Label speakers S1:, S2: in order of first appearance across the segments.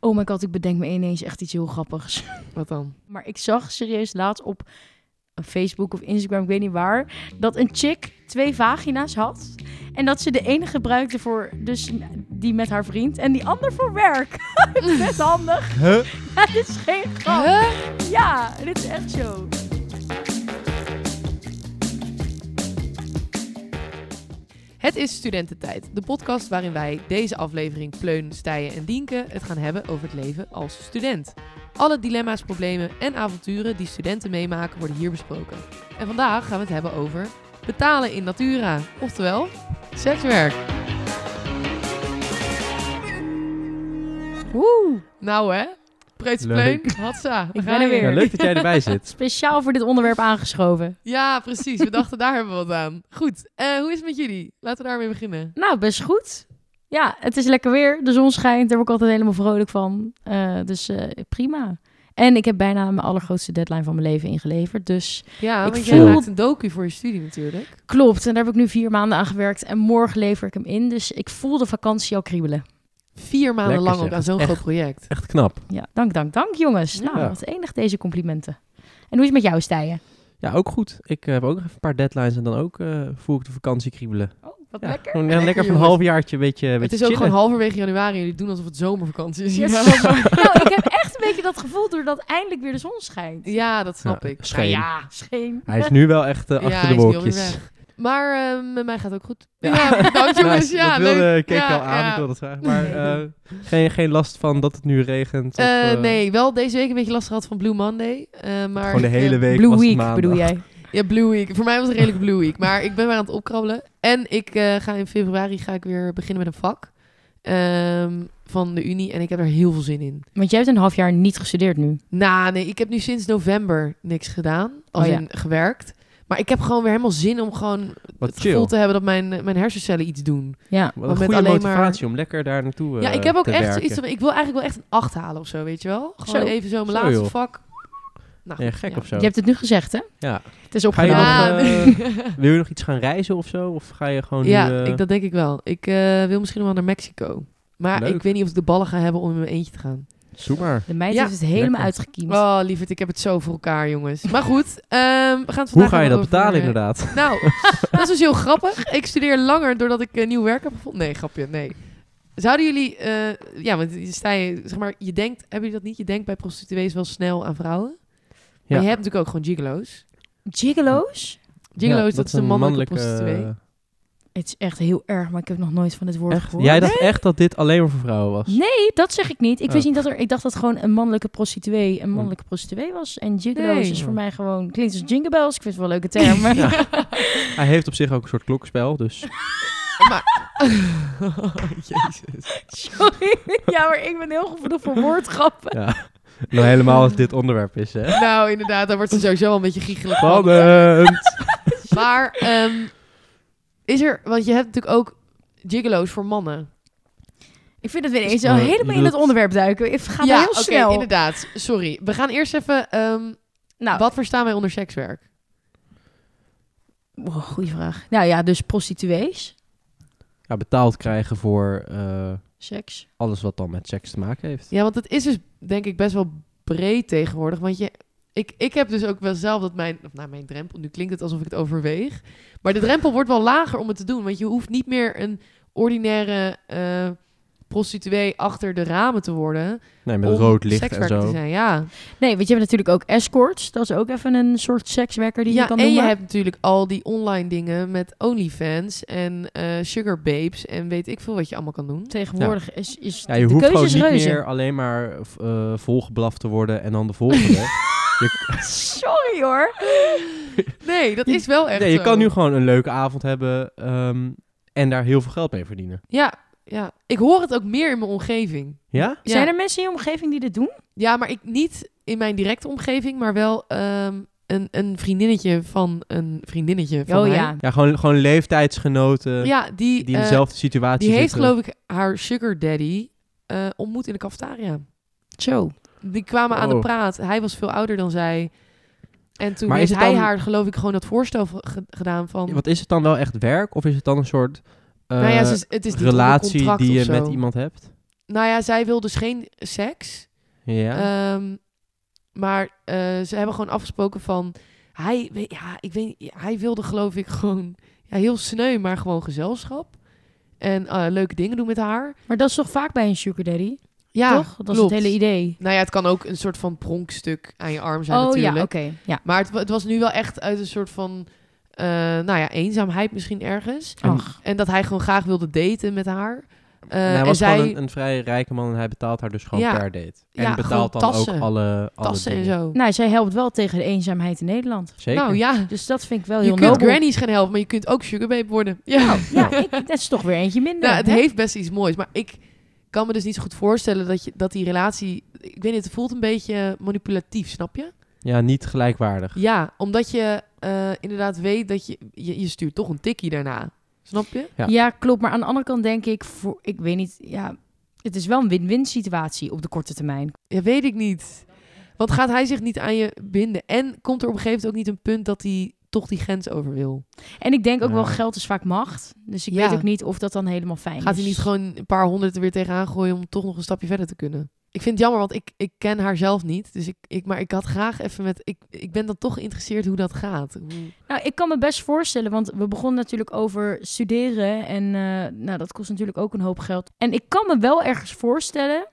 S1: Oh mijn god, ik bedenk me ineens echt iets heel grappigs.
S2: Wat dan?
S1: Maar ik zag serieus laatst op Facebook of Instagram, ik weet niet waar, dat een chick twee vagina's had. En dat ze de ene gebruikte voor, dus die met haar vriend, en die ander voor werk. Best handig.
S3: Huh?
S1: Ja, dit is geen grap.
S2: Huh?
S1: Ja, dit is echt zo.
S2: Het is Studententijd, de podcast waarin wij deze aflevering Pleun, Stijen en Dienke het gaan hebben over het leven als student. Alle dilemma's, problemen en avonturen die studenten meemaken worden hier besproken. En vandaag gaan we het hebben over betalen in natura, oftewel sekswerk.
S1: Woe,
S2: Nou hè, Preutse
S3: Leuk.
S2: Pleun, hatsa, daar
S1: Ik
S2: ga
S1: ben
S2: je
S1: er weer.
S3: Ja, leuk dat jij erbij zit.
S1: speciaal voor dit onderwerp aangeschoven.
S2: Ja, precies. We dachten, daar hebben we wat aan. Goed, eh, hoe is het met jullie? Laten we daarmee beginnen.
S1: Nou, best goed. Ja, het is lekker weer. De zon schijnt. Daar word ik altijd helemaal vrolijk van. Eh, dus eh, prima. En ik heb bijna mijn allergrootste deadline van mijn leven ingeleverd. Dus
S2: Ja,
S1: Ik
S2: want
S1: voel-
S2: jij maakt een docu voor je studie natuurlijk.
S1: klopt. En daar heb ik nu vier maanden aan gewerkt. En morgen lever ik hem in. Dus ik voel de vakantie al kriebelen.
S2: Vier maanden
S3: Lekker
S2: lang
S3: zeg.
S2: ook aan zo'n
S3: Echt.
S2: groot project.
S3: Echt knap.
S1: Ja, dank, dank, dank jongens. Nou,
S3: Ja.
S1: wat enig deze complimenten. En hoe is het met jou, Stijen?
S3: Ja, ook goed. Ik eh, heb ook nog even een paar deadlines en dan ook eh, voel ik de vakantie kriebelen.
S1: Oh, wat
S3: Ja,
S1: lekker.
S3: Gewoon, ja, lekker van een
S2: jongens.
S3: halfjaartje, weet je,
S2: Het
S3: weet je
S2: is ook gewoon
S3: chillen.
S2: halverwege januari. Jullie doen alsof het zomervakantie is.
S1: Yes.
S2: Ja, maar-
S1: nou, ik heb echt een beetje dat gevoel doordat eindelijk weer de zon schijnt.
S2: ja, dat snap
S3: Ja,
S2: ik.
S3: scheen.
S2: Nou ja,
S1: Scheen.
S3: Hij is nu wel echt eh,
S2: Ja,
S3: achter
S2: hij
S3: de
S2: is nu alweer
S3: wolkjes.
S2: weg. Maar eh, met mij gaat het ook goed.
S3: Ja.
S2: Ja, bedankt
S3: Nice,
S2: jongens. Ja,
S3: dat wilde
S2: leuk.
S3: Keek
S2: Ja,
S3: al aan,
S2: ja.
S3: ik wilde dat vragen. Maar eh, geen, geen last van dat het nu regent? of,
S2: Eh,
S3: eh,
S2: nee, wel deze week een beetje last gehad van Blue Monday. eh, maar
S3: Gewoon de
S2: ik,
S3: hele
S2: eh,
S3: week
S1: Blue
S3: was het
S1: Week
S3: maandag.
S1: bedoel jij.
S2: Ja, Blue Week. Voor mij was het een redelijk Blue Week. Maar ik ben weer aan het opkrabbelen. En ik eh, ga in februari ga ik weer beginnen met een vak ehm, van de Unie. En ik heb er heel veel zin in.
S1: Want jij hebt een half jaar niet gestudeerd nu.
S2: Nou, nee, ik heb nu sinds november niks gedaan. Als
S1: Oh ja.
S2: in gewerkt. Maar ik heb gewoon weer helemaal zin om gewoon
S3: Wat
S2: het
S3: chill.
S2: gevoel te hebben dat mijn, mijn hersencellen iets doen.
S1: Ja.
S3: Wat
S2: want met
S3: een goede
S2: alleen maar-
S3: motivatie om lekker daar naartoe eh,
S2: ja, ik heb ook
S3: te
S2: echt
S3: werken.
S2: zoiets van, ik wil eigenlijk wel echt een acht halen of zo, weet je wel? Gewoon
S1: Zo.
S2: even zo mijn
S3: Zo,
S2: laatste
S3: joh.
S2: vak. Nou,
S3: Ja,
S2: goed,
S3: gek
S2: ja.
S3: of zo.
S1: Je hebt het nu gezegd, hè?
S3: Ja.
S1: Het is
S3: Ga je
S1: opgenomen.
S2: Ja.
S3: nog, eh, wil je nog iets gaan reizen of zo? Of ga je gewoon
S2: ja,
S3: nu, eh,
S2: ik, dat denk ik wel. Ik eh, wil misschien wel naar Mexico. Maar
S3: Leuk.
S2: ik weet niet of ik de ballen ga hebben om in mijn eentje te gaan.
S3: Zoek maar.
S1: De meid
S2: Ja.
S1: heeft het helemaal
S3: Lekker.
S1: uitgekiemd.
S2: Oh, lieverd, ik heb het zo voor elkaar, jongens. Maar goed, ehm, we gaan het vandaag
S3: Hoe ga
S2: hebben
S3: je dat
S2: over,
S3: betalen
S2: eh,
S3: inderdaad?
S2: Nou, dat is dus heel grappig. Ik studeer langer doordat ik eh, nieuw werk heb gevonden. Nee, grapje, nee. Zouden jullie, eh, ja, want je sta je, zeg maar, je denkt, hebben jullie dat niet? Je denkt bij prostituees wel snel aan vrouwen.
S3: Ja.
S2: Maar je hebt natuurlijk ook gewoon gigolo's.
S1: Gigolo's?
S2: Gigolo's,
S3: Ja,
S2: dat, is een mannelijke, prostituee.
S1: Het is echt heel erg, maar ik heb nog nooit van dit woord
S3: Echt?
S1: gehoord.
S3: Jij dacht echt dat dit alleen maar voor vrouwen was?
S1: Nee, dat zeg ik niet. Ik wist
S3: Oh. Hm.
S1: niet dat er... Ik dacht dat gewoon een mannelijke prostituee een mannelijke prostituee was. En gigolo's
S2: Nee.
S1: is voor mij gewoon... Klinkt als jingle bells. Ik vind het wel een leuke term. maar-
S3: Ja. Hij heeft op zich ook een soort klokspel, dus...
S2: Jezus.
S1: Sorry. Ja, maar ik ben heel gevoelig voor woordgrappen.
S3: Ja. Nou, helemaal als dit onderwerp is, hè?
S2: Nou, inderdaad, daar wordt ze sowieso wel een beetje giechelig van.
S3: Spannend!
S2: Maar ehm, is er, want je hebt natuurlijk ook gigolo's voor mannen.
S1: Ik vind het weer eens
S3: Eh,
S1: al
S3: je
S1: helemaal in het
S3: bedoelt-
S1: onderwerp duiken. Ik ga
S2: ja,
S1: maar heel
S2: oké,
S1: snel.
S2: inderdaad. Sorry. We gaan eerst even, ehm,
S1: Nou,
S2: wat verstaan wij onder sekswerk?
S1: wow, Oh, goeie vraag. Nou ja, dus prostituees.
S3: Ja, betaald krijgen voor eh,
S1: Seks.
S3: alles wat dan met seks te maken heeft.
S2: Ja, want het is dus denk ik best wel breed tegenwoordig. Want je, ik, ik heb dus ook wel zelf dat mijn, of nou mijn drempel, nu klinkt het alsof ik het overweeg. Maar de drempel wordt wel lager om het te doen. Want je hoeft niet meer een ordinaire eh, prostituee achter de ramen te worden.
S3: Nee, met
S2: om
S3: rood licht en
S2: sekswerker te
S3: zo.
S2: zijn, ja.
S1: Nee, want je hebt natuurlijk ook escorts. Dat is ook even een soort sekswerker die
S2: ja,
S1: je kan
S2: en
S1: noemen.
S2: je hebt natuurlijk al die online dingen met OnlyFans en eh Sugar Babes en weet ik veel wat je allemaal kan doen.
S1: Tegenwoordig is, is
S3: Ja, je
S1: de
S3: hoeft
S1: keuze
S3: gewoon
S1: is
S3: niet
S1: reuze.
S3: meer alleen maar eh volgeblaft te worden en dan de volgende.
S1: Sorry hoor.
S2: Nee, dat is wel echt eh.
S3: nee, je
S2: zo.
S3: kan nu gewoon een leuke avond hebben ehm, en daar heel veel geld mee verdienen.
S2: Ja, ja, ik hoor het ook meer in mijn omgeving.
S3: Ja?
S2: Ja.
S1: Zijn er mensen in je omgeving die dit doen?
S2: Ja, maar ik niet in mijn directe omgeving, maar wel ehm, een, een vriendinnetje van een vriendinnetje van
S1: oh
S2: mij.
S1: ja.
S3: Ja, gewoon, gewoon leeftijdsgenoten
S2: Ja, die,
S3: die in
S2: eh,
S3: dezelfde situatie
S2: die heeft
S3: zitten.
S2: geloof ik haar Sugar Daddy eh, ontmoet in de cafetaria.
S1: Zo.
S2: Die kwamen aan de
S3: Oh.
S2: praat. Hij was veel ouder dan zij. En toen
S3: Maar is
S2: heeft
S3: het
S2: hij
S3: dan-
S2: haar, geloof ik, gewoon dat voorstel ge- ge- gedaan van...
S3: Ja, Want is het dan wel echt werk of is het dan een soort eh,
S2: nou ja, ze is- het is niet onder
S3: relatie
S2: contract
S3: die
S2: of
S3: je
S2: zo.
S3: met iemand hebt?
S2: Nou ja, zij wil dus geen seks.
S3: Ja.
S2: Ehm, maar eh, ze hebben gewoon afgesproken van... Hij, we- ja, ik weet, ja, hij wilde geloof ik gewoon ja, heel sneu, maar gewoon gezelschap. En eh, leuke dingen doen met haar.
S1: Maar dat is toch vaak bij een sugar daddy,
S2: Ja,
S1: toch? Dat is
S2: klopt.
S1: het hele idee.
S2: Nou ja, het kan ook een soort van pronkstuk aan je arm zijn
S1: oh
S2: natuurlijk.
S1: ja, oké. Ja.
S2: Maar het, wa- het was nu wel echt uit een soort van... eh, nou ja, eenzaamheid misschien ergens.
S3: En-
S1: Ach,
S2: En dat hij gewoon graag wilde daten met haar. Eh,
S3: En Nou, hij
S2: en
S3: was
S2: zij
S3: gewoon een, een vrij rijke man en hij betaalt haar dus gewoon
S2: Ja.
S3: per date. En
S2: Ja,
S3: betaalt dan
S2: gewoon tassen.
S3: ook alle, alle
S2: tassen en
S3: dingen.
S2: zo.
S1: nou, zij helpt wel tegen de eenzaamheid in Nederland.
S3: Zeker.
S2: Nou ja,
S1: Dus dat vind ik wel
S2: je
S1: heel
S2: kunt
S1: nobel.
S2: grannies gaan helpen, maar je kunt ook sugarbabe worden. Ja,
S1: Ja, ik, dat is toch weer eentje minder.
S2: nou, het
S1: hè?
S2: heeft best iets moois. Maar ik kan me dus niet zo goed voorstellen dat, je, dat die relatie... Ik weet niet, het voelt een beetje manipulatief, snap je?
S3: Ja, niet gelijkwaardig.
S2: Ja, omdat je eh, inderdaad weet dat je, je... Je stuurt toch een tikkie daarna, snap je?
S3: Ja.
S1: Ja. klopt. Maar aan de andere kant denk ik, voor, ik weet niet, ja, het is wel een win-win situatie op de korte termijn.
S2: Ja, weet ik niet. Want gaat hij zich niet aan je binden? En komt er op een gegeven moment ook niet een punt dat hij toch die grens over wil?
S1: En ik denk ook wel,
S3: Ja.
S1: geld is vaak macht. Dus ik
S2: Ja.
S1: weet ook niet of dat dan helemaal fijn
S2: Gaat
S1: is.
S2: hij niet gewoon een paar honderd er weer tegenaan gooien om toch nog een stapje verder te kunnen? Ik vind het jammer, want ik, ik ken haar zelf niet. Dus ik, ik, maar ik had graag even met... Ik, ik ben dan toch geïnteresseerd hoe dat gaat. Hoe-
S1: Nou, ik kan me best voorstellen, want we begonnen natuurlijk over studeren. En eh, nou, dat kost natuurlijk ook een hoop geld. En ik kan me wel ergens voorstellen.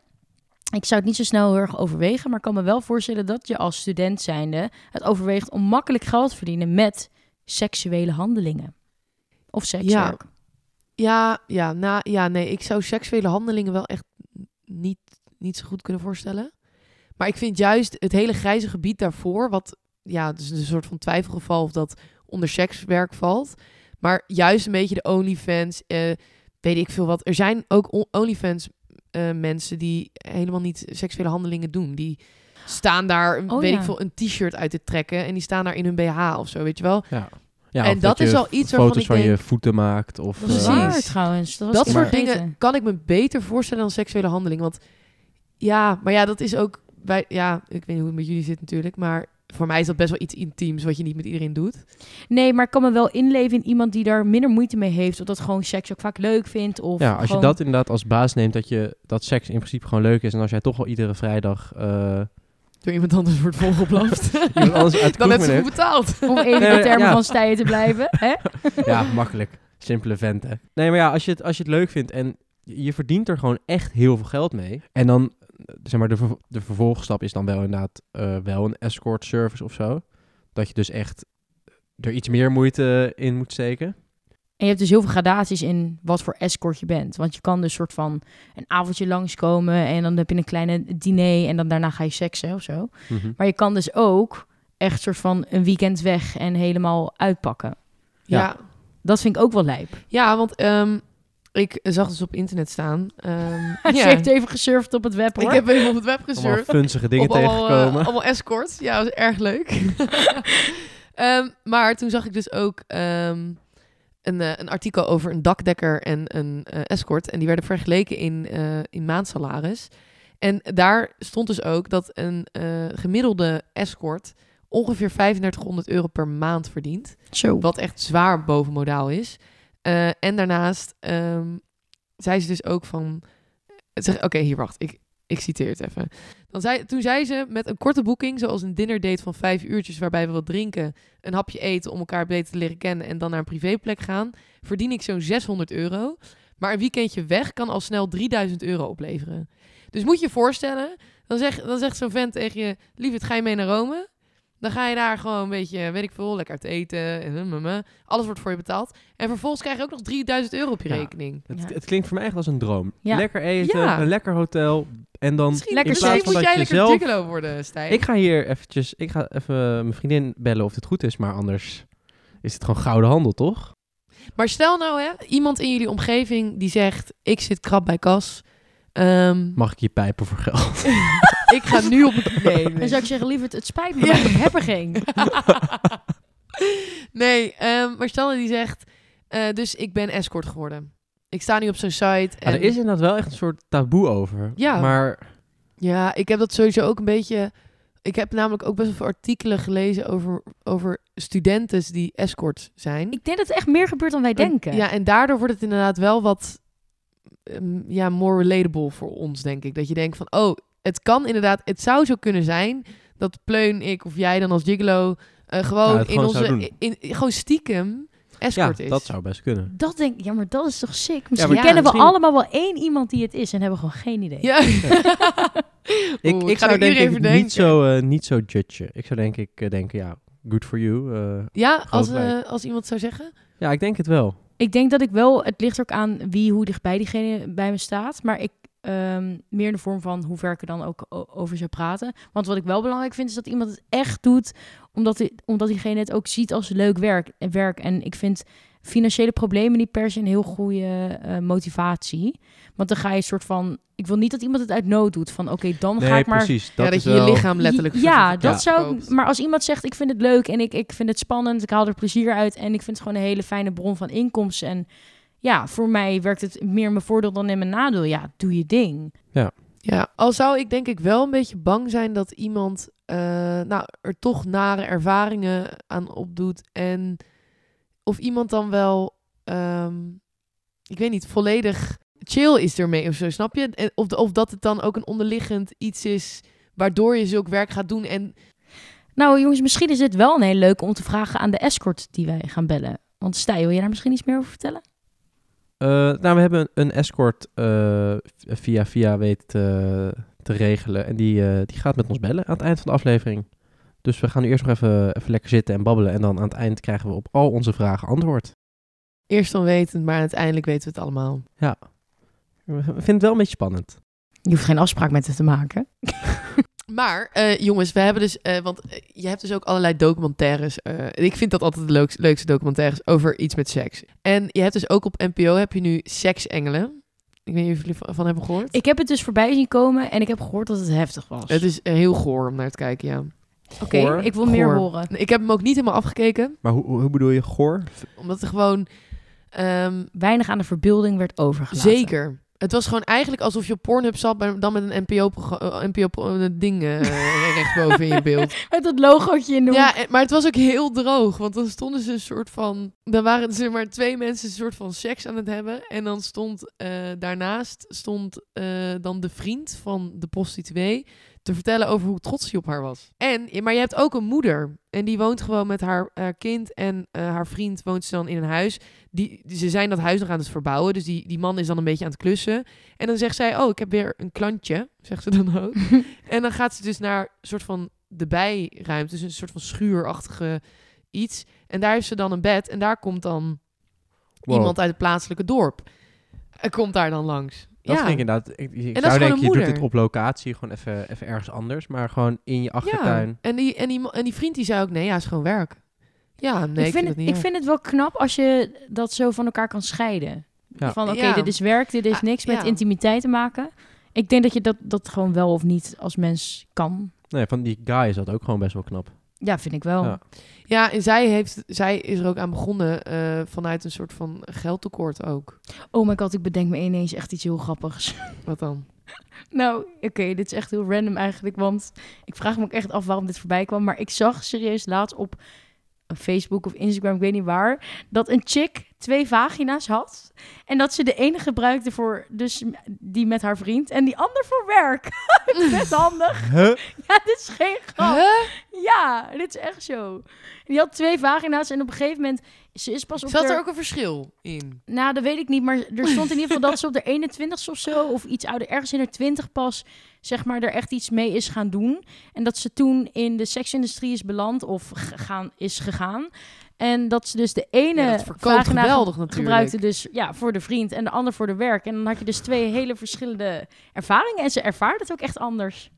S1: Ik zou het niet zo snel heel erg overwegen, maar ik kan me wel voorstellen dat je als student zijnde het overweegt om makkelijk geld te verdienen met seksuele handelingen. Of sekswerk.
S2: Ja, ja, na, ja, nee. Ik zou seksuele handelingen wel echt niet, niet zo goed kunnen voorstellen. Maar ik vind juist het hele grijze gebied daarvoor, wat ja, dus een soort van twijfelgeval of dat onder sekswerk valt. Maar juist een beetje de OnlyFans, eh, weet ik veel wat. Er zijn ook on- OnlyFans eh, mensen die helemaal niet seksuele handelingen doen. Die staan daar,
S1: Oh,
S2: weet
S1: ja.
S2: ik veel, een t-shirt uit te trekken en die staan daar in hun BH of zo, weet je wel.
S3: Ja,
S2: en
S3: of
S2: dat
S3: je
S2: is wel iets waarvan
S3: foto's
S2: ik
S3: van
S2: denk-
S3: je voeten maakt. Of,
S1: Dat is
S3: eh,
S1: waar
S2: Precies.
S1: trouwens. Dat, was
S2: dat
S1: ik
S2: soort
S1: vergeten.
S2: dingen kan ik me beter voorstellen dan seksuele handeling. Want ja, maar ja, dat is ook bij. Ja, ik weet niet hoe het met jullie zit natuurlijk. Maar voor mij is dat best wel iets intiems wat je niet met iedereen doet.
S1: Nee, maar ik kan me wel inleven in iemand die daar minder moeite mee heeft. Of dat gewoon seks ook vaak leuk vindt. Of
S3: ja, als je
S1: gewoon-
S3: dat inderdaad als baas neemt, dat, je, dat seks in principe gewoon leuk is. En als jij toch wel iedere vrijdag eh
S2: Door iemand anders wordt volgeplaft.
S3: iemand anders uit de
S2: dan
S3: kroeg
S2: heeft ze goed
S3: meeneemt.
S2: betaald.
S1: Om even in
S3: Nee,
S1: de termen
S3: ja.
S1: van Stijen te blijven. Hè?
S3: Ja, makkelijk. Simpele vent, hè. Nee, maar ja, als je, het, als je het leuk vindt en je je verdient er gewoon echt heel veel geld mee. En dan, eh, zeg maar, de, ver- de vervolgstap is dan wel inderdaad eh, wel een escort service of zo. Dat je dus echt er iets meer moeite in moet steken.
S1: En je hebt dus heel veel gradaties in wat voor escort je bent. Want je kan dus soort van een avondje langskomen en dan heb je een kleine diner en dan daarna ga je seksen of zo.
S3: Mhm.
S1: Maar je kan dus ook echt soort van een weekend weg en helemaal uitpakken.
S2: Ja,
S3: Ja.
S2: ja.
S1: Dat vind ik ook wel lijp.
S2: want ehm, ik zag dus op internet staan.
S1: Ze
S2: ehm, ja.
S1: heeft even gesurfd op het web hoor.
S2: Ik heb even op het web
S3: Allemaal
S2: gesurfd.
S3: funzige dingen
S2: op allemaal, eh,
S3: tegengekomen.
S2: allemaal escorts. Ja, was erg leuk. Ehm, maar toen zag ik dus ook ehm, een, eh, een artikel over een dakdekker en een eh, escort. En die werden vergeleken in, eh, in maandsalaris. En daar stond dus ook dat een eh, gemiddelde escort ongeveer 3500 euro per maand verdient.
S1: Zo.
S2: Wat echt zwaar bovenmodaal is. Eh, en daarnaast ehm, zei ze dus ook van... eh, zeg- Oké, hier wacht. Ik, ik citeer het even. Dan zei, toen zei ze met een korte boeking, zoals een dinnerdate van vijf uurtjes... waarbij we wat drinken, een hapje eten om elkaar beter te leren kennen... en dan naar een privéplek gaan, verdien ik zo'n 600 euro. Maar een weekendje weg kan al snel 3000 euro opleveren. Dus moet je je voorstellen, dan, zeg, dan zegt zo'n vent tegen je... lieverd, ga je mee naar Rome? Dan ga je daar gewoon een beetje, weet ik veel, lekker uit eten. En, mm, mm, mm. alles wordt voor je betaald. En vervolgens krijg je ook nog 3000 euro op je
S3: Ja.
S2: rekening.
S3: Het,
S1: Ja.
S3: het klinkt voor mij echt als een droom.
S1: Ja.
S3: Lekker eten,
S2: Ja.
S3: een lekker hotel en dan...
S2: Misschien,
S1: Lekker
S2: misschien
S1: seks.
S2: moet
S3: dat
S2: jij
S3: je
S2: lekker
S3: zelf-
S2: gigolo worden, Stijn.
S3: Ik ga hier eventjes... Ik ga even mijn vriendin bellen of dit goed is, maar anders is het gewoon gouden handel, toch?
S2: Maar stel nou, hè, iemand in jullie omgeving die zegt... ik zit krap bij kas. Ehm,
S3: Mag ik je pijpen voor geld?
S2: ik ga nu op... het- Nee, nee.
S1: Dan zou ik zeggen, lieverd, het spijt me,
S2: Ja.
S1: maar ik heb er geen.
S2: nee, ehm, maar stel dat die zegt... eh, dus ik ben escort geworden. Ik sta nu op zo'n site.
S3: Ja,
S2: En...
S3: er is inderdaad wel echt een soort taboe over.
S2: Ja.
S3: Maar
S2: Ja, ik heb dat sowieso ook een beetje... Ik heb namelijk ook best wel veel artikelen gelezen over, over studenten die escort zijn.
S1: Ik denk dat het echt meer gebeurt dan wij denken.
S2: Ja, en daardoor wordt het inderdaad wel wat ehm, ja, more relatable voor ons, denk ik. Dat je denkt van, oh, het kan inderdaad, het zou zo kunnen zijn dat Pleun, ik of jij dan als gigolo eh, gewoon,
S3: Ja, het
S2: in
S3: gewoon zou
S2: onze,
S3: doen.
S2: in, in- gewoon stiekem
S3: Ja,
S2: escort is.
S3: dat zou best kunnen.
S1: Dat denk ik, ja, maar dat is toch sick? Misschien
S2: maar-
S1: kennen we
S3: misschien-
S1: allemaal wel één iemand die het is en hebben gewoon geen idee.
S2: Ja.
S3: Ik,
S2: Oeh, ga
S3: ik zou
S2: er
S3: denk
S2: uren
S3: ik
S2: over denken.
S3: niet zo, eh, niet zo judgen. Ik zou denk ik eh, denken, ja, good for you. eh.
S2: Ja, als,
S3: Groot gelijk.
S2: eh, als iemand zou zeggen.
S3: ja, ik denk het wel.
S1: Ik denk dat ik wel, het ligt ook aan wie, hoe dichtbij diegene bij me staat. Maar ik, ehm, meer in de vorm van hoe ver ik er dan ook o- over zou praten. Want wat ik wel belangrijk vind, is dat iemand het echt doet. Omdat, die- omdat diegene het ook ziet als leuk werk, werk. En ik vind financiële problemen niet per se een heel goede eh, motivatie. Want dan ga je een soort van, ik wil niet dat iemand het uit nood doet. Van oké, dan ga
S3: Nee,
S1: ik maar
S3: precies.
S2: Dat
S3: Dat
S2: ja, dat
S3: is
S2: je
S3: wel-
S2: je lichaam letterlijk
S1: ja,
S2: verkoopt.
S1: dat zou ik-
S2: Verkoopt.
S1: Maar als iemand zegt, ik vind het leuk en ik, ik vind het spannend, ik haal er plezier uit en ik vind het gewoon een hele fijne bron van inkomsten. En ja, voor mij werkt het meer in mijn voordeel dan in mijn nadeel. Ja, doe je ding.
S2: Ja, al zou ik denk ik wel een beetje bang zijn dat iemand eh, nou, er toch nare ervaringen aan opdoet. En of iemand dan wel, ehm, ik weet niet, volledig chill is ermee of zo, snap je? En Of, of dat het dan ook een onderliggend iets is waardoor je zulk werk gaat doen. En
S1: Nou jongens, misschien is dit wel een hele leuke om te vragen aan de escort die wij gaan bellen. Want Stijn, wil je daar misschien iets meer over vertellen?
S3: Eh, nou, we hebben een, een escort eh, via via weet eh, te regelen. En die, eh, die gaat met ons bellen aan het eind van de aflevering. Dus we gaan nu eerst nog even, even lekker zitten en babbelen. En dan aan het eind krijgen we op al onze vragen antwoord.
S2: eerst onwetend, maar uiteindelijk weten we het allemaal.
S3: Ik vind het wel een beetje spannend.
S1: Je hoeft geen afspraak met het te maken.
S2: Maar eh, jongens, we hebben dus, eh, want eh, je hebt dus ook allerlei documentaires. eh, ik vind dat altijd de leukste, leukste documentaires over iets met seks. En je hebt dus ook op NPO heb je nu Seksengelen. Ik weet niet of jullie van, van hebben gehoord.
S1: Ik heb het dus voorbij zien komen en ik heb gehoord dat het heftig was.
S2: Het is eh, heel goor om naar te kijken, ja.
S1: Oké,
S3: Goor.
S1: ik wil meer
S2: Goor.
S1: horen.
S2: Ik heb hem ook niet helemaal afgekeken,
S3: Maar hoe, hoe bedoel je goor?
S2: omdat er gewoon ehm,
S1: Weinig aan de verbeelding werd overgelaten.
S2: zeker. Het was gewoon eigenlijk alsof je op Pornhub zat, maar dan met een NPO-ding NPO eh, ding eh, rechtsboven in je beeld.
S1: Met dat logootje in de hoek.
S2: Ja, en- maar het was ook heel droog. Want dan stonden ze een soort van. Dan waren ze maar twee mensen een soort van seks aan het hebben. En dan stond eh, daarnaast stond eh, dan de vriend van de prostituee te vertellen over hoe trots hij op haar was. En, maar je hebt ook een moeder. En die woont gewoon met haar, haar kind en eh, haar vriend woont ze dan in een huis. Die, ze zijn dat huis nog aan het verbouwen. Dus die, die man is dan een beetje aan het klussen. En dan zegt zij, oh, ik heb weer een klantje. Zegt ze dan ook. En dan gaat ze dus naar een soort van de bijruimte, dus een soort van schuurachtige iets. En daar heeft ze dan een bed en daar komt dan
S3: Wow.
S2: iemand uit het plaatselijke dorp. Er komt daar dan langs.
S3: Dat
S2: ja.
S3: vind ik inderdaad... Ik, ik
S2: is
S3: zou
S2: gewoon
S3: denken,
S2: een
S3: je doet
S2: moeder.
S3: dit op locatie. Gewoon even, even ergens anders. Maar gewoon in je achtertuin.
S2: ja. En, die, en, die, en die vriend die zei ook, nee, ja, is gewoon werk. Ja, nee,
S1: ik, vind
S2: het
S1: het,
S2: niet
S1: ik
S2: erg.
S1: vind het wel knap als je dat zo van elkaar kan scheiden.
S3: Ja.
S1: Van oké,
S2: Ja.
S1: dit is werk, dit is
S2: Ah,
S1: niks met
S2: ja.
S1: intimiteit te maken. Ik denk dat je dat, dat gewoon wel of niet als mens kan.
S3: Nee, van die guy is dat ook gewoon best wel knap.
S1: Ja, vind ik wel.
S3: Ja.
S2: Ja, en zij, heeft, zij is er ook aan begonnen eh, vanuit een soort van geldtekort ook.
S1: Oh my god, ik bedenk me ineens echt iets heel grappigs.
S2: Wat dan?
S1: nou, oké, dit is echt heel random eigenlijk. Want ik vraag me ook echt af waarom dit voorbij kwam. Maar ik zag serieus laatst op Facebook of Instagram, ik weet niet waar, dat een chick twee vagina's had. En dat ze de ene gebruikte voor, dus die met haar vriend, en die ander voor werk. Best handig. Ja, dit is geen grap. Ja, dit is echt zo. En Die had twee vagina's en op een gegeven moment... Ze is pas op
S2: Zat
S1: haar-
S2: er ook een verschil in?
S1: Nou, dat weet ik niet, maar er stond in ieder geval dat ze op de 21ste of zo... of iets ouder, ergens in haar 20 pas, zeg maar, er echt iets mee is gaan doen. En dat ze toen in de seksindustrie is beland of gegaan, is gegaan. En dat ze dus de ene
S2: Ja, dat verkoopt
S1: vagina
S2: geweldig
S1: ge-
S2: natuurlijk.
S1: gebruikte dus ja, voor de vriend en de ander voor de werk. En dan had je dus twee hele verschillende ervaringen. En ze ervaart het ook echt anders.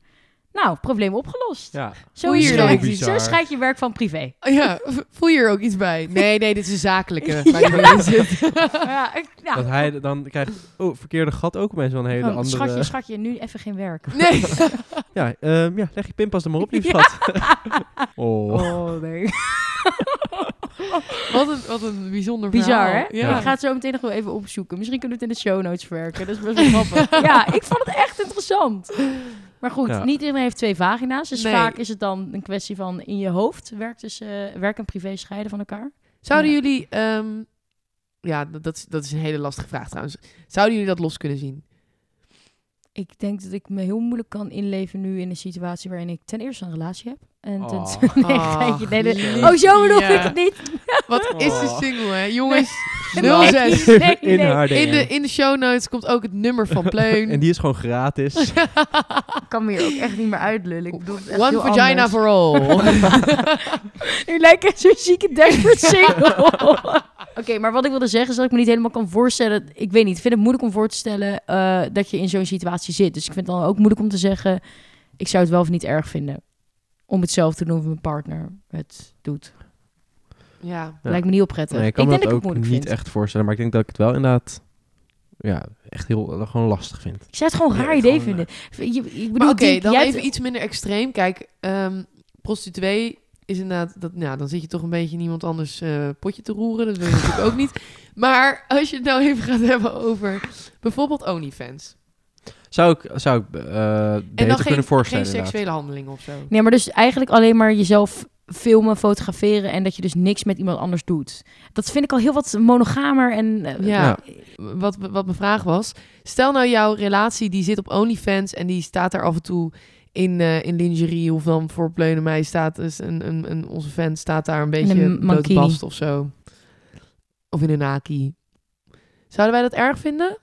S1: Nou, probleem opgelost.
S3: Ja.
S1: Zo,
S2: Oei,
S1: is
S2: heel
S1: het. zo
S3: bizar.
S1: scheidt je werk van privé.
S2: Oh Ja, voel je er ook iets bij? Nee, nee, dit is een zakelijke waar
S1: Ja.
S2: die mee in zit.
S1: ja, ik- ja. Oh,
S3: Dat hij dan krijgt... Oh, verkeerde gat ook opeens wel een hele
S1: Gewoon,
S3: andere...
S1: Schatje, schatje, nu even geen werk.
S2: Nee.
S3: Ja, ehm, ja, leg je pinpas er maar op, lieve schat. Oh.
S1: Oh, nee.
S2: Wat een, wat een bijzonder
S1: Bizar, hè?
S2: verhaal. Ja.
S1: Ik ga het zo meteen nog wel even opzoeken. Misschien kunnen we het in de show notes verwerken. Dat is best wel grappig. ja, ik vond het echt interessant. Maar goed,
S3: Ja.
S1: niet iedereen heeft twee vagina's. Dus
S2: Nee.
S1: vaak is het dan een kwestie van in je hoofd werkt dus, eh, werk en privé scheiden van elkaar.
S2: Zouden
S1: Ja.
S2: jullie ehm, Ja, dat, dat is, dat is een hele lastige vraag trouwens. Zouden jullie dat los kunnen zien?
S1: Ik denk dat ik me heel moeilijk kan inleven nu in een situatie waarin ik ten eerste een relatie heb. En ten
S3: Oh.
S1: tweede... Nee,
S2: Ach,
S1: geintje, nee, nee.
S2: liefje.
S1: Ah. Oh, zo bedoel ik het niet.
S2: Wat is de
S3: Oh.
S2: single, hè? Jongens,
S1: Nee.
S2: 06.
S1: Nee, nee.
S3: in haar DM.
S2: In de, in de show notes komt ook het nummer van Pleun.
S3: En die is gewoon gratis.
S1: Ik kan me hier ook echt niet meer uitlullen. Ik bedoel het echt
S2: One
S1: heel
S2: vagina
S1: anders.
S2: for all.
S1: Nu lijkt het zo'n zieke Dashboard single. Oké, maar wat ik wilde zeggen is dat ik me niet helemaal kan voorstellen. Ik weet niet, ik vind het moeilijk om voor te stellen eh, dat je in zo'n situatie zit. Dus ik vind het dan ook moeilijk om te zeggen, ik zou het wel of niet erg vinden. Om het zelf te doen of mijn partner het doet.
S2: ja.
S3: Ja.
S1: Lijkt me niet oprettig.
S3: Nee, ik kan
S1: ik
S3: me
S1: denk
S3: dat
S1: dat
S3: ook
S1: ik het moeilijk
S3: niet
S1: vind.
S3: echt voorstellen. Maar ik denk dat ik het wel inderdaad... Ja, echt heel... eh, Gewoon lastig vind.
S1: Ik zou het gewoon een
S3: Ja,
S1: raar idee
S3: gewoon, eh,
S1: vinden. Je, ik bedoel,
S2: Maar oké,
S1: Dink,
S2: dan
S1: jij
S2: even
S1: hebt-
S2: iets minder extreem. Kijk, ehm, prostituee is inderdaad... Dat, nou, dan zit je toch een beetje in iemand anders eh, potje te roeren. Dat wil je natuurlijk ook niet. Maar als je het nou even gaat hebben over bijvoorbeeld OnlyFans.
S3: Zou ik, zou ik eh,
S2: En
S3: beter
S2: dan geen,
S3: kunnen voorstellen
S2: geen seksuele handelingen of zo.
S1: Nee, maar dus eigenlijk alleen maar jezelf filmen, fotograferen en dat je dus niks met iemand anders doet. Dat vind ik al heel wat monogamer en... eh,
S2: Ja, nou, Wat, wat mijn vraag was. Stel nou jouw relatie, die zit op OnlyFans en die staat daar af en toe in, eh, in lingerie. Of dan voor pleunen mij staat dus een, een, een, onze fan staat daar een beetje
S1: een
S2: blote
S1: mankini.
S2: bast of zo. Of in een naki. Zouden wij dat erg vinden?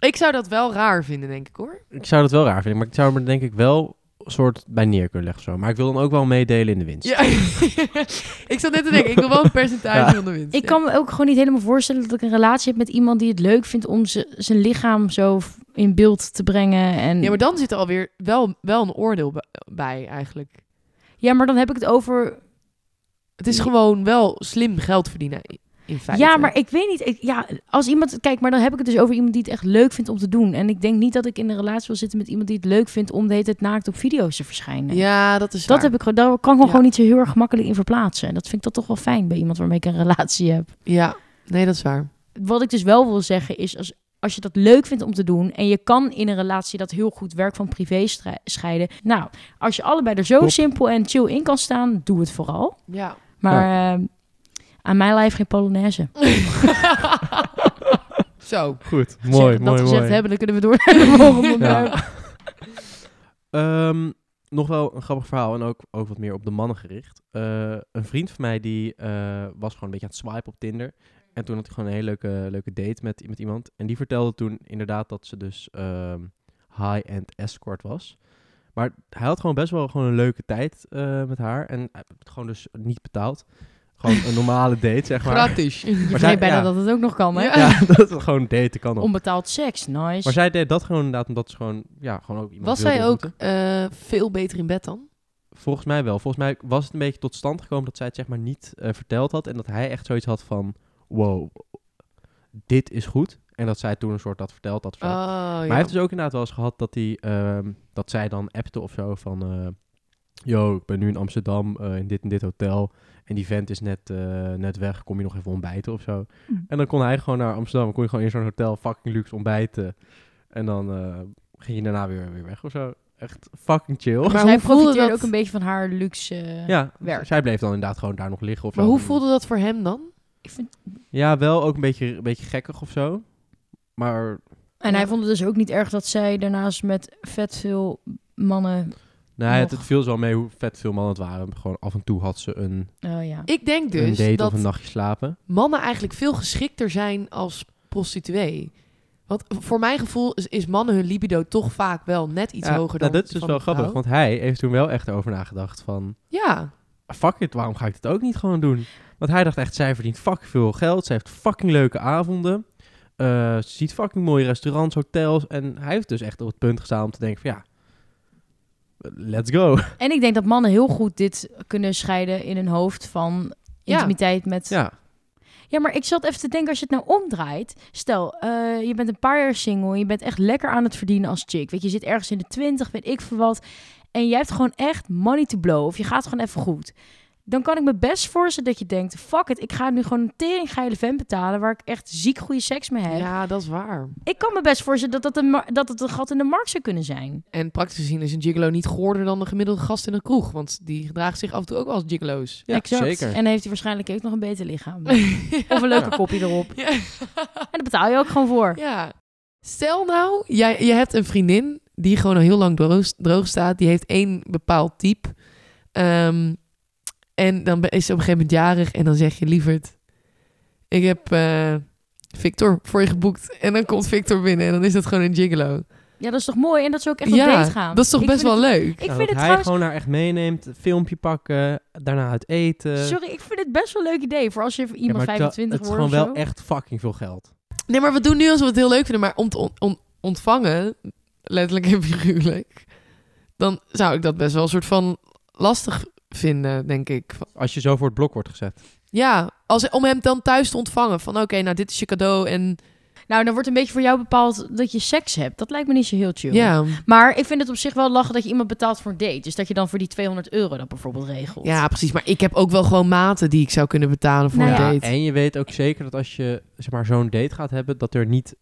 S2: Ik zou dat wel raar vinden, denk ik hoor.
S3: Ik zou dat wel raar vinden. Maar ik zou er denk ik wel een soort bij neer kunnen leggen. Zo. Maar ik wil dan ook wel meedelen in de winst.
S2: Ja. ik zat net te denken, ik wil wel een percentage
S3: Ja.
S2: van de winst.
S1: Ik
S2: ja.
S1: kan me ook gewoon niet helemaal voorstellen dat ik een relatie heb met iemand die het leuk vindt om z- zijn lichaam zo f- in beeld te brengen. En...
S2: Ja, maar dan zit er alweer wel, wel een oordeel bij- bij eigenlijk.
S1: dan heb ik het over.
S2: Het is gewoon wel slim geld verdienen in feite.
S1: Ja, maar ik weet niet. Ik, ja, als iemand. Kijk, maar dan heb ik het dus over iemand die het echt leuk vindt om te doen. En ik denk niet dat ik in een relatie wil zitten met iemand die het leuk vindt om de hele tijd naakt op video's te verschijnen.
S2: Ja, dat is
S1: Dat
S2: waar.
S1: heb ik, gewoon- daar kan ik me
S2: Ja.
S1: gewoon niet zo heel erg gemakkelijk in verplaatsen. En dat vind ik dat toch wel fijn bij iemand waarmee ik een relatie heb.
S2: Ja, nee, dat is waar.
S1: Wat ik dus wel wil zeggen is, als, als je dat leuk vindt om te doen... en je kan in een relatie dat heel goed werk van privé strij- scheiden... nou, als je allebei er zo
S3: Klopt.
S1: simpel en chill in kan staan, doe het vooral.
S2: Ja.
S1: Maar eh, aan mijn lijf geen Polonaise.
S2: Zo.
S3: Goed,
S1: Als we dat gezegd hebben, dan kunnen we door naar de volgende onderwerp.
S3: Ehm, nog wel een grappig verhaal en ook, ook wat meer op de mannen gericht. Eh, een vriend van mij die eh, was gewoon een beetje aan het swipen op Tinder. En toen had hij gewoon een hele leuke, leuke date met, met iemand. En die vertelde toen inderdaad dat ze dus ehm, high-end escort was. Maar hij had gewoon best wel gewoon een leuke tijd eh, met haar. En hij heeft gewoon dus niet betaald. Gewoon een normale date, zeg maar.
S2: Gratis.
S1: Je
S3: zij-
S1: weet bijna
S3: ja.
S1: dat het ook nog kan, hè?
S2: Ja.
S3: Ja, dat het gewoon daten kan ook.
S1: Onbetaald seks, nice.
S3: Maar zij deed dat gewoon inderdaad omdat ze gewoon, ja, gewoon ook iemand
S2: Was
S3: wilde
S2: zij ook
S3: ontmoeten.
S2: eh, veel beter in bed dan?
S3: Volgens mij wel. Volgens mij was het een beetje tot stand gekomen dat zij het zeg maar niet eh, verteld had. En dat hij echt zoiets had van, wow, dit is goed. En dat zij toen een soort dat verteld had. of zo.
S2: Oh,
S3: maar
S2: ja.
S3: hij heeft dus ook inderdaad wel eens gehad dat, hij, ehm, dat zij dan appte of zo van... eh, Yo, ik ben nu in Amsterdam eh, in dit en dit hotel. En die vent is net, eh, net weg. Kom je nog even ontbijten of zo?
S2: Hm.
S3: En dan kon hij gewoon naar Amsterdam. Kon je gewoon in zo'n hotel fucking luxe ontbijten. En dan eh, ging je daarna weer, weer weg of zo. Echt fucking chill.
S1: maar
S2: Maar
S1: hij
S2: hoe voelde
S1: profiteerde
S2: dat-
S1: ook een beetje van haar luxe... eh,
S3: Ja,
S1: werk.
S3: zij bleef dan inderdaad gewoon daar nog liggen. Of
S2: maar
S3: zo.
S2: hoe voelde dat voor hem dan?
S1: Ik vind...
S3: Ja, wel ook een beetje, een beetje gekkig of zo. Maar
S1: En
S2: Ja.
S1: hij vond het dus ook niet erg dat zij daarnaast met vet veel mannen...
S3: nou, het,
S1: Nog.
S3: het viel zo mee hoe vet veel mannen het waren. Gewoon af en toe had ze een,
S1: Oh ja.
S2: Ik denk
S3: een
S2: dus
S3: date
S2: dat
S3: of een nachtje slapen.
S2: mannen eigenlijk veel geschikter zijn als prostituee. Want voor mijn gevoel is, is mannen hun libido toch vaak wel net iets
S3: Ja,
S2: hoger dan
S3: nou, dat is dus
S2: van
S3: wel
S2: een
S3: grappig,
S2: vrouw.
S3: want hij heeft toen wel echt over nagedacht van...
S2: Ja.
S3: Fuck it, waarom ga ik dit ook niet gewoon doen? Want hij dacht echt, zij verdient fucking veel geld. Zij heeft fucking leuke avonden. Eh, ze ziet fucking mooie restaurants, hotels. En hij heeft dus echt op het punt gestaan om te denken van ja... Let's go.
S1: En ik denk dat mannen heel goed dit kunnen scheiden in hun hoofd van
S2: Ja.
S1: intimiteit met... Ja.
S3: Ja,
S1: maar ik zat even te denken, als je het nou omdraait... Stel, eh, je bent een paar jaar single, je bent echt lekker aan het verdienen als chick. Weet je, je zit ergens in de twintig, weet ik veel wat. En jij hebt gewoon echt money to blow, of je gaat gewoon even goed. Dan kan ik me best voorstellen dat je denkt... fuck it, ik ga nu gewoon een tering geile vent betalen... waar ik echt ziek goede seks mee heb.
S2: Ja, dat is waar.
S1: Ik kan me best voorstellen dat dat, een, mar- dat het een gat in de markt zou kunnen zijn.
S2: En praktisch gezien is een gigolo niet goorder dan de gemiddelde gast in een kroeg. Want die gedragen zich af en toe ook wel als gigolo's.
S3: Ja,
S1: Exact.
S3: zeker.
S1: En dan heeft hij waarschijnlijk ook nog een beter lichaam. Of een leuke
S3: Ja.
S1: kopje erop.
S2: Ja.
S1: En daar betaal je ook gewoon voor.
S2: ja. Stel nou, jij, je hebt een vriendin die gewoon al heel lang droog, droog staat. Die heeft één bepaald type. Ehm, en dan be- is ze op een gegeven moment jarig. En dan zeg je, lieverd, ik heb eh, Victor voor je geboekt. En dan komt Victor binnen en dan is dat gewoon een gigolo.
S1: Ja, dat is toch mooi? En dat ze ook echt op date gaan.
S2: dat is toch
S1: Ik
S2: best
S1: vind
S2: wel
S1: het-
S2: leuk?
S1: Ik
S3: Ja,
S1: vind
S3: dat
S1: het
S3: hij
S1: trouwens...
S3: gewoon haar echt meeneemt, een filmpje pakken, daarna uit eten.
S1: Sorry, ik vind het best wel een leuk idee. Voor als je
S3: eh, Ja,
S1: iemand
S3: maar dat-
S1: 25
S3: Het is
S1: wordt
S3: gewoon
S1: of
S3: wel
S1: zo.
S3: echt fucking veel geld.
S2: Nee, maar we doen nu alsof we het heel leuk vinden. Maar om te on- on- ontvangen, letterlijk en figuurlijk, dan zou ik dat best wel een soort van lastig vinden, denk ik. Van-
S3: Als je zo voor het blok wordt gezet.
S2: Ja, als, om hem dan thuis te ontvangen. Van oké, nou dit is je cadeau en
S1: Nou, dan wordt een beetje voor jou bepaald dat je seks hebt. Dat lijkt me niet zo heel chill.
S2: ja.
S1: Maar ik vind het op zich wel lachen dat je iemand betaalt voor een date. Dus dat je dan voor die 200 euro dat bijvoorbeeld regelt.
S2: ja, precies. Maar ik heb ook wel gewoon maten die ik zou kunnen betalen voor
S1: Nou
S2: een
S1: ja.
S2: date.
S3: en je weet ook zeker dat als je zeg maar, zo'n date gaat hebben, dat er niet...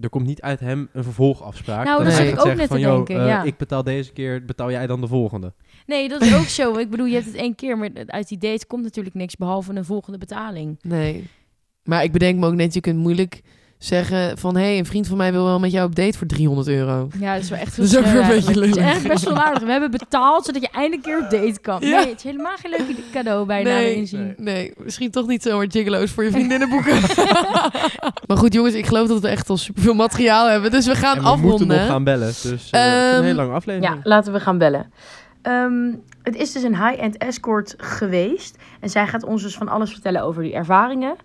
S3: Er komt niet uit hem een vervolgafspraak.
S1: Nou,
S3: dat
S2: dat
S3: hij
S2: zat
S3: gaat
S1: ik ook
S3: zeggen
S1: net te
S3: van, "Yo,
S1: denken,
S3: eh,
S1: ja."
S3: ik betaal deze keer, betaal jij dan de volgende.
S1: Nee, dat is ook zo. Ik bedoel, je hebt het één keer, maar uit die date komt natuurlijk niks behalve een volgende betaling.
S2: Nee. Maar ik bedenk me ook net, je kunt moeilijk zeggen van... hé, hey, een vriend van mij wil wel met jou op date voor 300 euro.
S1: Ja, dat is wel echt
S2: Dat is ook
S1: sneu
S2: weer een
S1: eigenlijk.
S2: beetje
S1: Het is
S2: lullig.
S1: echt best wel aardig. We hebben betaald zodat je eindelijk een keer op date kan.
S2: Ja.
S1: Nee, het is helemaal geen leuk cadeau bijna
S2: Nee.
S1: erin zien.
S3: Nee.
S2: Nee, misschien toch niet zomaar gigolo's voor je vriendinnen boeken. maar goed, jongens, ik geloof dat we echt al superveel materiaal hebben. Dus we gaan
S3: en we moeten
S2: afronden.
S3: nog gaan bellen. Dus eh, het is
S2: Ehm,
S3: een hele lange aflevering.
S1: Ja, laten we gaan bellen. Ehm, het is dus een high-end escort geweest. En zij gaat ons dus van alles vertellen over die ervaringen.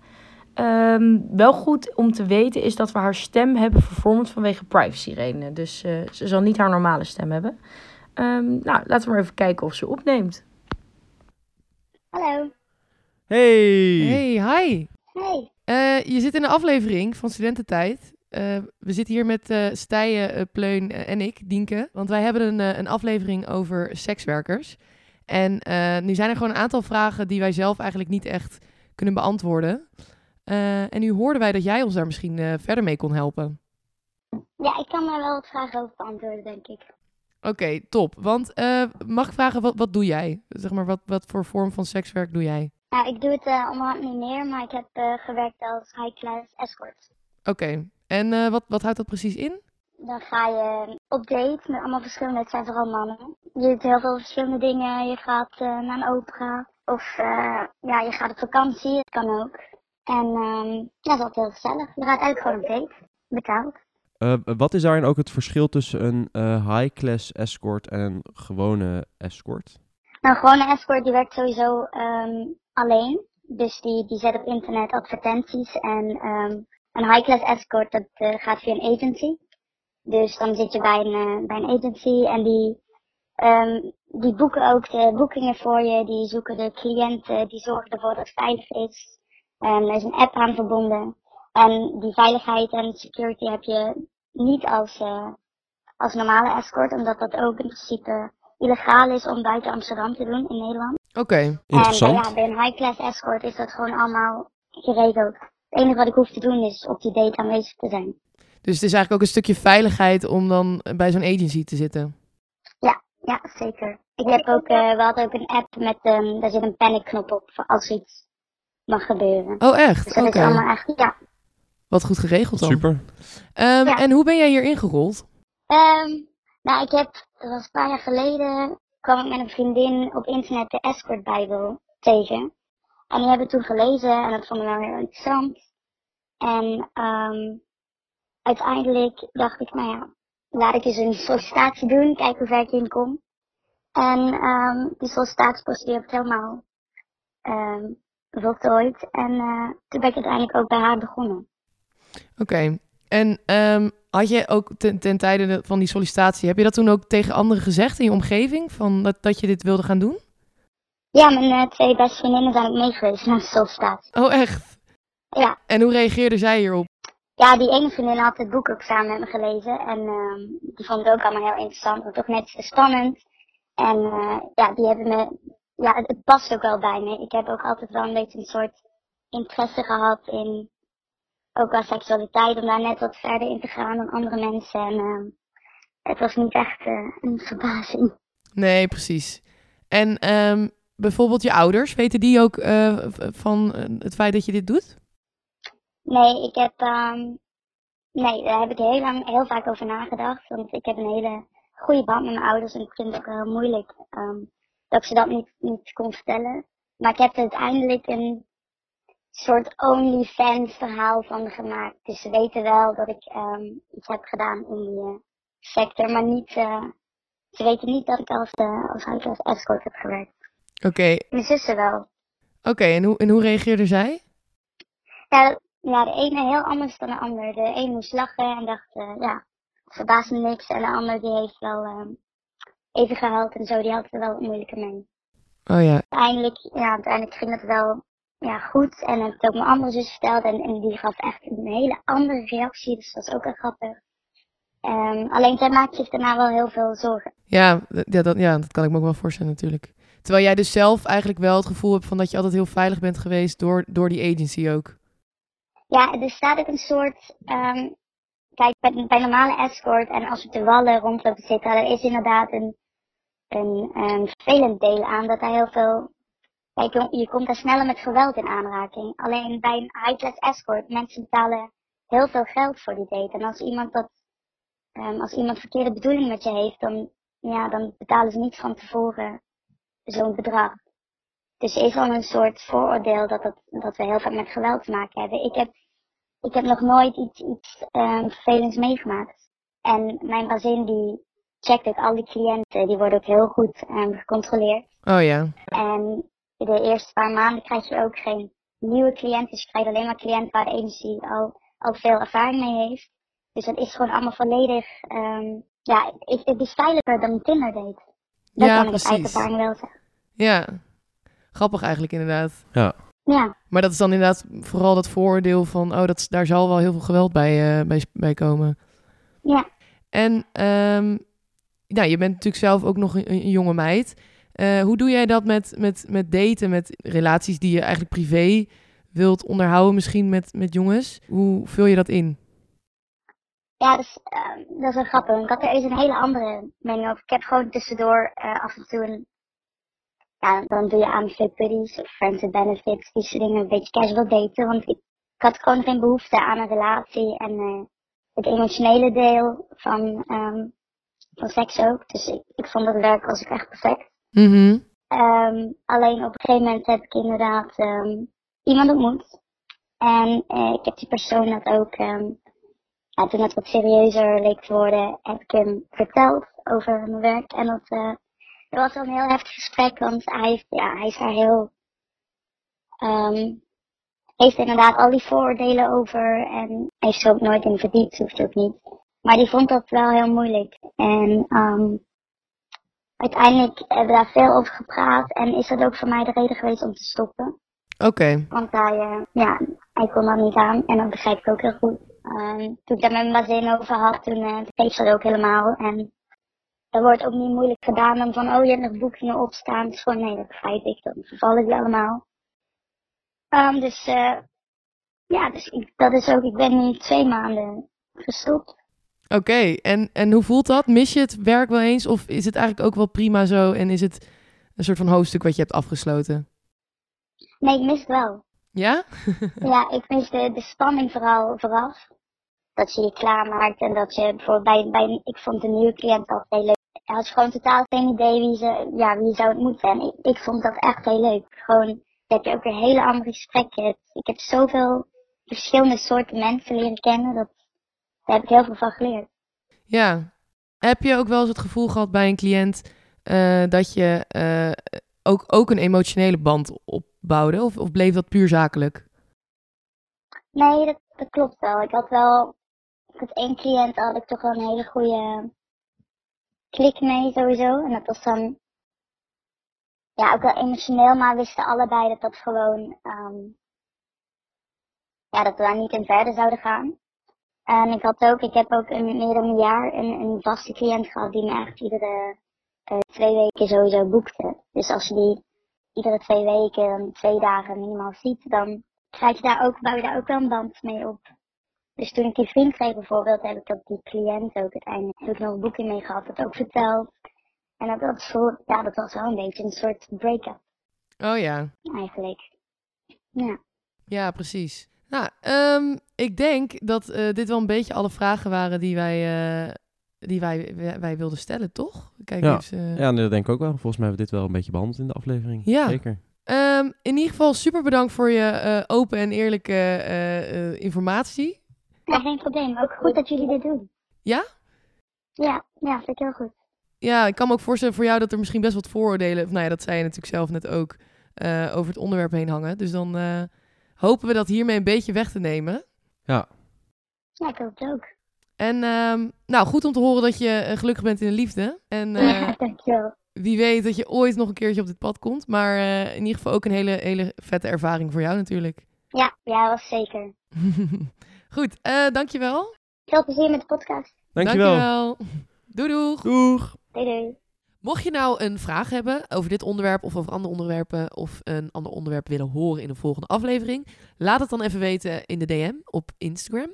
S1: Ehm, wel goed om te weten is dat we haar stem hebben vervormd vanwege privacyredenen. Dus eh, ze zal niet haar normale stem hebben. Ehm, nou, laten we maar even kijken of ze opneemt.
S4: Hallo.
S3: Hey!
S2: Hey, hi.
S4: Hey.
S2: Eh, je zit in een aflevering van Studententijd. Eh, we zitten hier met eh Stijen, eh, Pleun eh, en ik, Dienke. Want wij hebben een, eh, een aflevering over sekswerkers. En eh, nu zijn er gewoon een aantal vragen die wij zelf eigenlijk niet echt kunnen beantwoorden. Eh, en nu hoorden wij dat jij ons daar misschien eh, verder mee kon helpen.
S4: Ja, ik kan daar wel wat vragen over beantwoorden, denk ik.
S2: Oké, top. Want eh, mag ik vragen, wat, wat doe jij? Zeg maar, wat, wat voor vorm van sekswerk doe jij?
S4: Nou, ik doe het eh allemaal niet meer, maar ik heb eh, gewerkt als high-class escort.
S2: Oké, en eh, wat, wat houdt dat precies in?
S4: Dan ga je eh, op date met allemaal verschillende, het zijn vooral mannen. Je doet heel veel verschillende dingen. Je gaat eh, naar een opera of eh, ja, je gaat op vakantie, dat kan ook. En ehm, ja, dat is altijd heel gezellig. Je gaat eigenlijk gewoon op date, betaald.
S3: Eh, wat is daarin ook het verschil tussen een eh, high-class escort en een gewone
S1: Ah,
S3: escort?
S4: Nou, gewoon een escort die werkt sowieso ehm, alleen. Dus die, die zet op internet advertenties. En ehm, een high-class escort, dat eh, gaat via een agency. Dus dan zit je bij een, eh, bij een agency en die, ehm, die boeken ook de boekingen voor je. Die zoeken de cliënten, die zorgen ervoor dat het veilig is. En er is een app aan verbonden. En die veiligheid en security heb je niet als, eh, als normale escort, omdat dat ook in principe illegaal is om buiten Amsterdam te doen in Nederland.
S2: Oké,
S4: En
S3: Interessant.
S4: eh, ja, bij een high-class escort is dat gewoon allemaal geregeld. Het enige wat ik hoef te doen is op die date aanwezig te zijn.
S2: dus het is eigenlijk ook een stukje veiligheid om dan bij zo'n agency te zitten.
S4: Ja, zeker. Ik heb ook, eh, we hadden ook een app met, ehm, daar zit een panikknop op voor als iets mag gebeuren.
S2: Oh, echt?
S4: Dus
S2: Oké,
S4: dat is allemaal echt, ja.
S2: wat goed geregeld dan.
S3: Super.
S2: Ehm,
S4: Ja.
S2: En hoe ben jij hier ingerold?
S4: Ehm, nou, ik heb, dat was een paar jaar geleden, kwam ik met een vriendin op internet de Escort Bijbel tegen. En die hebben we toen gelezen en dat vond ik wel heel interessant. En ehm, uiteindelijk dacht ik, nou ja, laat ik eens een sollicitatie doen, kijken hoe ver ik in kom. En ehm, die sollicitatieprocedure heb ik helemaal ehm voltooid. En eh, toen ben ik uiteindelijk ook bij haar begonnen.
S2: Oké, en ehm, had je ook ten, ten tijde de- van die sollicitatie, heb je dat toen ook tegen anderen gezegd in je omgeving? Van dat, dat je dit wilde gaan doen?
S4: Ja, mijn eh, twee beste vriendinnen zijn ook mee geweest naar de sollicitatie.
S2: Oh, echt?
S4: Ja.
S2: En hoe reageerde zij hierop?
S4: Ja, die ene vriendin had het boek ook samen met me gelezen. En ehm, die vond het ook allemaal heel interessant. En toch net iets te spannend. En eh, ja, die hebben me ja, het, het past ook wel bij me. Ik heb ook altijd wel een beetje een soort interesse gehad in, ook qua seksualiteit, om daar net wat verder in te gaan dan andere mensen. En ehm, het was niet echt eh, een verbazing.
S2: Nee, precies. En ehm, bijvoorbeeld je ouders, weten die ook eh, v- van eh, het feit dat je dit doet?
S4: Nee, ik heb, ehm, nee, daar heb ik heel lang, heel vaak over nagedacht. Want ik heb een hele goede band met mijn ouders en ik vind het ook heel moeilijk ehm, dat ik ze dat niet, niet kon vertellen. Maar ik heb er uiteindelijk een soort OnlyFans verhaal van gemaakt. Dus ze weten wel dat ik ehm, iets heb gedaan in die eh, sector, maar niet, eh, ze weten niet dat ik als, eh als huisarts escort heb gewerkt.
S2: Oké,
S4: Mijn zussen wel.
S2: oké. en, hoe, en hoe reageerde zij?
S4: Ja, dat- ja, de ene heel anders dan de ander. De een moest lachen en dacht, eh, ja, het verbaast me niks. En de ander die heeft wel ehm, even gehuild en zo, die had er wel moeilijker mee.
S2: Oh ja,
S4: Uiteindelijk, ja, uiteindelijk ging het wel ja, goed. En heb ik het ook mijn andere zus verteld. En, en die gaf echt een hele andere reactie. Dus dat was ook wel grappig. Ehm, alleen zij maakt zich daarna wel heel veel zorgen.
S2: Ja, d- ja, dat, ja, dat kan ik me ook wel voorstellen natuurlijk. Terwijl jij dus zelf eigenlijk wel het gevoel hebt van dat je altijd heel veilig bent geweest door, door die agency ook.
S4: Ja, er staat ook een soort. ehm, kijk, bij, bij normale escort en als we te wallen rondlopen zitten, er is inderdaad een, een, ehm, vervelend deel aan dat daar heel veel. Kijk, je, je komt daar sneller met geweld in aanraking. Alleen bij een high-class escort, mensen betalen heel veel geld voor die date. En als iemand dat. ehm, als iemand verkeerde bedoeling met je heeft, dan, ja, dan betalen ze niet van tevoren zo'n bedrag. Dus er is wel een soort vooroordeel dat, het, dat we heel vaak met geweld te maken hebben. Ik heb, ik heb nog nooit iets, iets ehm, vervelends meegemaakt. En mijn bazin die checkt ook al die cliënten. Die worden ook heel goed ehm, gecontroleerd.
S2: Oh ja.
S4: En de eerste paar maanden krijg je ook geen nieuwe cliënten. Dus je krijgt alleen maar cliënten waar de agency al, al veel ervaring mee heeft. Dus dat is gewoon allemaal volledig... ehm, ja, het, het is veiliger dan een Tinder date. Dat
S2: Ja,
S4: kan ik uit eigen
S2: precies.
S4: ervaring wel zeggen.
S2: Ja. Grappig eigenlijk inderdaad.
S4: Ja.
S2: Maar dat is dan inderdaad vooral dat vooroordeel van, oh, dat, is- daar zal wel heel veel geweld bij, eh, bij, bij komen.
S4: Ja.
S2: En ehm, nou, je bent natuurlijk zelf ook nog een, een jonge meid. Eh, hoe doe jij dat met, met, met daten, met relaties die je eigenlijk privé wilt onderhouden misschien met, met jongens? Hoe vul je dat in?
S4: Ja, dat is, ehm, dat is wel grappig. want Ik had er eens een hele andere mening over. Ik heb gewoon tussendoor eh, af en toe een... Ja, dan doe je aan buddies of friends and benefits. Die soort dingen, een beetje casual daten. Want ik, ik had gewoon geen behoefte aan een relatie. En eh, het emotionele deel van, ehm, van seks ook. Dus ik, ik vond het werk was ook echt perfect.
S2: Mhm.
S4: Ehm, alleen op een gegeven moment heb ik inderdaad ehm, iemand ontmoet. En eh, ik heb die persoon dat ook, ehm, ja, toen het wat serieuzer leek te worden, heb ik hem verteld over mijn werk. En dat, eh, dat was wel een heel heftig gesprek, want hij, heeft, ja, hij is daar heel, ehm, heeft inderdaad al die vooroordelen over en heeft ze ook nooit in verdiept, hoeft ook niet. Maar die vond dat wel heel moeilijk. En ehm, uiteindelijk hebben we daar veel over gepraat en is dat ook voor mij de reden geweest om te stoppen.
S2: Oké.
S4: Want hij, eh, ja, hij kon dat niet aan en dat begrijp ik ook heel goed. Ehm, toen ik daar met mijn bazin over had, toen eh begreep ze dat ook helemaal. En er wordt ook niet moeilijk gedaan dan van, oh je hebt nog boekingen opstaan. Het is gewoon, nee, dat begrijp ik, dan vervallen die allemaal. Ehm, dus eh, ja, dus ik, dat is ook, ik ben nu twee maanden gestopt.
S2: Oké, en, en hoe voelt dat? Mis je het werk wel eens? Of is het eigenlijk ook wel prima zo? En is het een soort van hoofdstuk wat je hebt afgesloten?
S4: Nee, ik mis het wel.
S2: Ja?
S4: Ja, ik mis de, de spanning vooral vooraf. Dat je je klaarmaakt en dat je bijvoorbeeld bij, bij ik vond de nieuwe cliënt altijd heel leuk. Hij had gewoon totaal geen idee wie, ze, ja, wie zou het moeten. En ik, ik vond dat echt heel leuk. Gewoon, dan heb je ook weer hele andere gesprekken. Ik heb zoveel verschillende soorten mensen leren kennen. Dat, daar heb ik heel veel van geleerd.
S2: Ja. Heb je ook wel eens het gevoel gehad bij een cliënt eh, dat je eh, ook, ook een emotionele band opbouwde? Of, of bleef dat puur zakelijk?
S4: Nee, dat, dat klopt wel. Ik had wel, met één cliënt had ik toch wel een hele goede klik mee sowieso. En dat was dan, ja, ook wel emotioneel, maar we wisten allebei dat dat gewoon, ehm, ja, dat we daar niet in verder zouden gaan. En ik had ook, ik heb ook een, meer dan een jaar een, een vaste cliënt gehad die me echt iedere eh, twee weken sowieso boekte. Dus als je die iedere twee weken, dan twee dagen minimaal ziet, dan krijg je daar ook, bouw je daar ook wel een band mee op. Dus toen ik die vriend kreeg bijvoorbeeld, heb ik dat die cliënt ook uiteindelijk heb ik nog een boekje mee gehad dat ook vertelt. En dat, dat, voel- ja, dat was wel een beetje een soort break-up
S2: Oh ja.
S4: eigenlijk. Ja.
S2: Ja, precies. Nou, ehm, ik denk dat eh, dit wel een beetje alle vragen waren die wij, eh, die wij, wij, wij wilden stellen, toch? Kijk
S3: Ja.
S2: eens. eh.
S3: Ja, nee, dat denk ik ook wel. Volgens mij hebben we dit wel een beetje behandeld in de aflevering.
S2: Ja.
S3: Zeker.
S2: Ehm, in ieder geval super bedankt voor je eh, open en eerlijke eh, eh, informatie.
S4: ja, geen probleem. Ook goed dat jullie dit doen.
S2: Ja?
S4: Ja, ja, vind ik heel goed.
S2: Ja, ik kan me ook voorstellen voor jou dat er misschien best wat vooroordelen, of nou ja, dat zei je natuurlijk zelf net ook, eh, over het onderwerp heen hangen. Dus dan eh, hopen we dat hiermee een beetje weg te nemen.
S4: Ja, ik hoop het ook.
S2: En ehm, nou, goed om te horen dat je eh, gelukkig bent in de liefde. En eh,
S4: Ja, dankjewel.
S2: wie weet dat je ooit nog een keertje op dit pad komt. Maar eh, in ieder geval ook een hele, hele vette ervaring voor jou natuurlijk.
S4: Ja, ja, was zeker.
S2: Goed, eh dankjewel.
S4: Veel plezier met de podcast.
S3: Dankjewel.
S2: Doei doeg.
S3: Doeg.
S4: Doei doei.
S2: Mocht je nou een vraag hebben over dit onderwerp of over andere onderwerpen of een ander onderwerp willen horen in een volgende aflevering, laat het dan even weten in de DM op Instagram.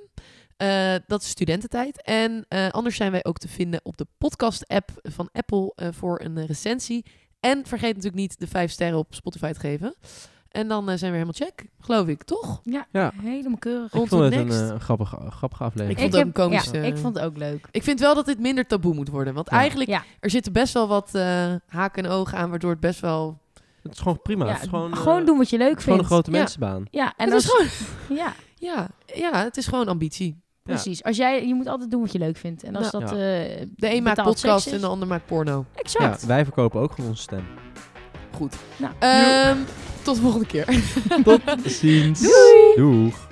S2: Eh, dat is studententijd. En eh, anders zijn wij ook te vinden op de podcast-app van Apple eh, voor een eh, recensie. En vergeet natuurlijk niet de 5 sterren op Spotify te geven. En dan eh, zijn we helemaal check, geloof ik, toch?
S1: Ja,
S3: Ja.
S1: helemaal keurig.
S3: Ik
S2: Rond
S3: vond
S2: tot
S3: het een
S2: next.
S3: eh, grappige, grappige aflevering.
S2: Ik vond het ook een komische-
S1: ja, ik vond het ook leuk.
S2: Ik vind wel dat dit minder taboe moet worden. Want
S3: Ja.
S2: eigenlijk,
S1: Ja.
S2: er zitten best wel wat eh, haken en ogen aan, waardoor het best wel...
S3: Het is gewoon prima.
S1: Ja,
S3: het is gewoon, eh,
S1: doen wat je
S3: het
S1: leuk
S3: is gewoon
S1: vindt.
S3: een grote
S2: Ja.
S3: mensenbaan.
S1: Ja, en
S2: het is
S1: als,
S2: gewoon...
S1: ja,
S2: Ja, ja, het is gewoon ambitie.
S1: precies. Als jij, je moet altijd doen wat je leuk vindt. En als
S3: Nou,
S1: dat
S3: ja.
S1: eh,
S2: De een maakt
S1: betaald
S2: podcast
S1: seks
S2: en
S1: is-
S2: de ander maakt porno.
S1: Exact.
S3: Ja, wij verkopen ook gewoon onze stem.
S2: Goed.
S1: Nou.
S3: Eh,
S2: Ehm, tot de volgende keer.
S3: Tot ziens. Doeg.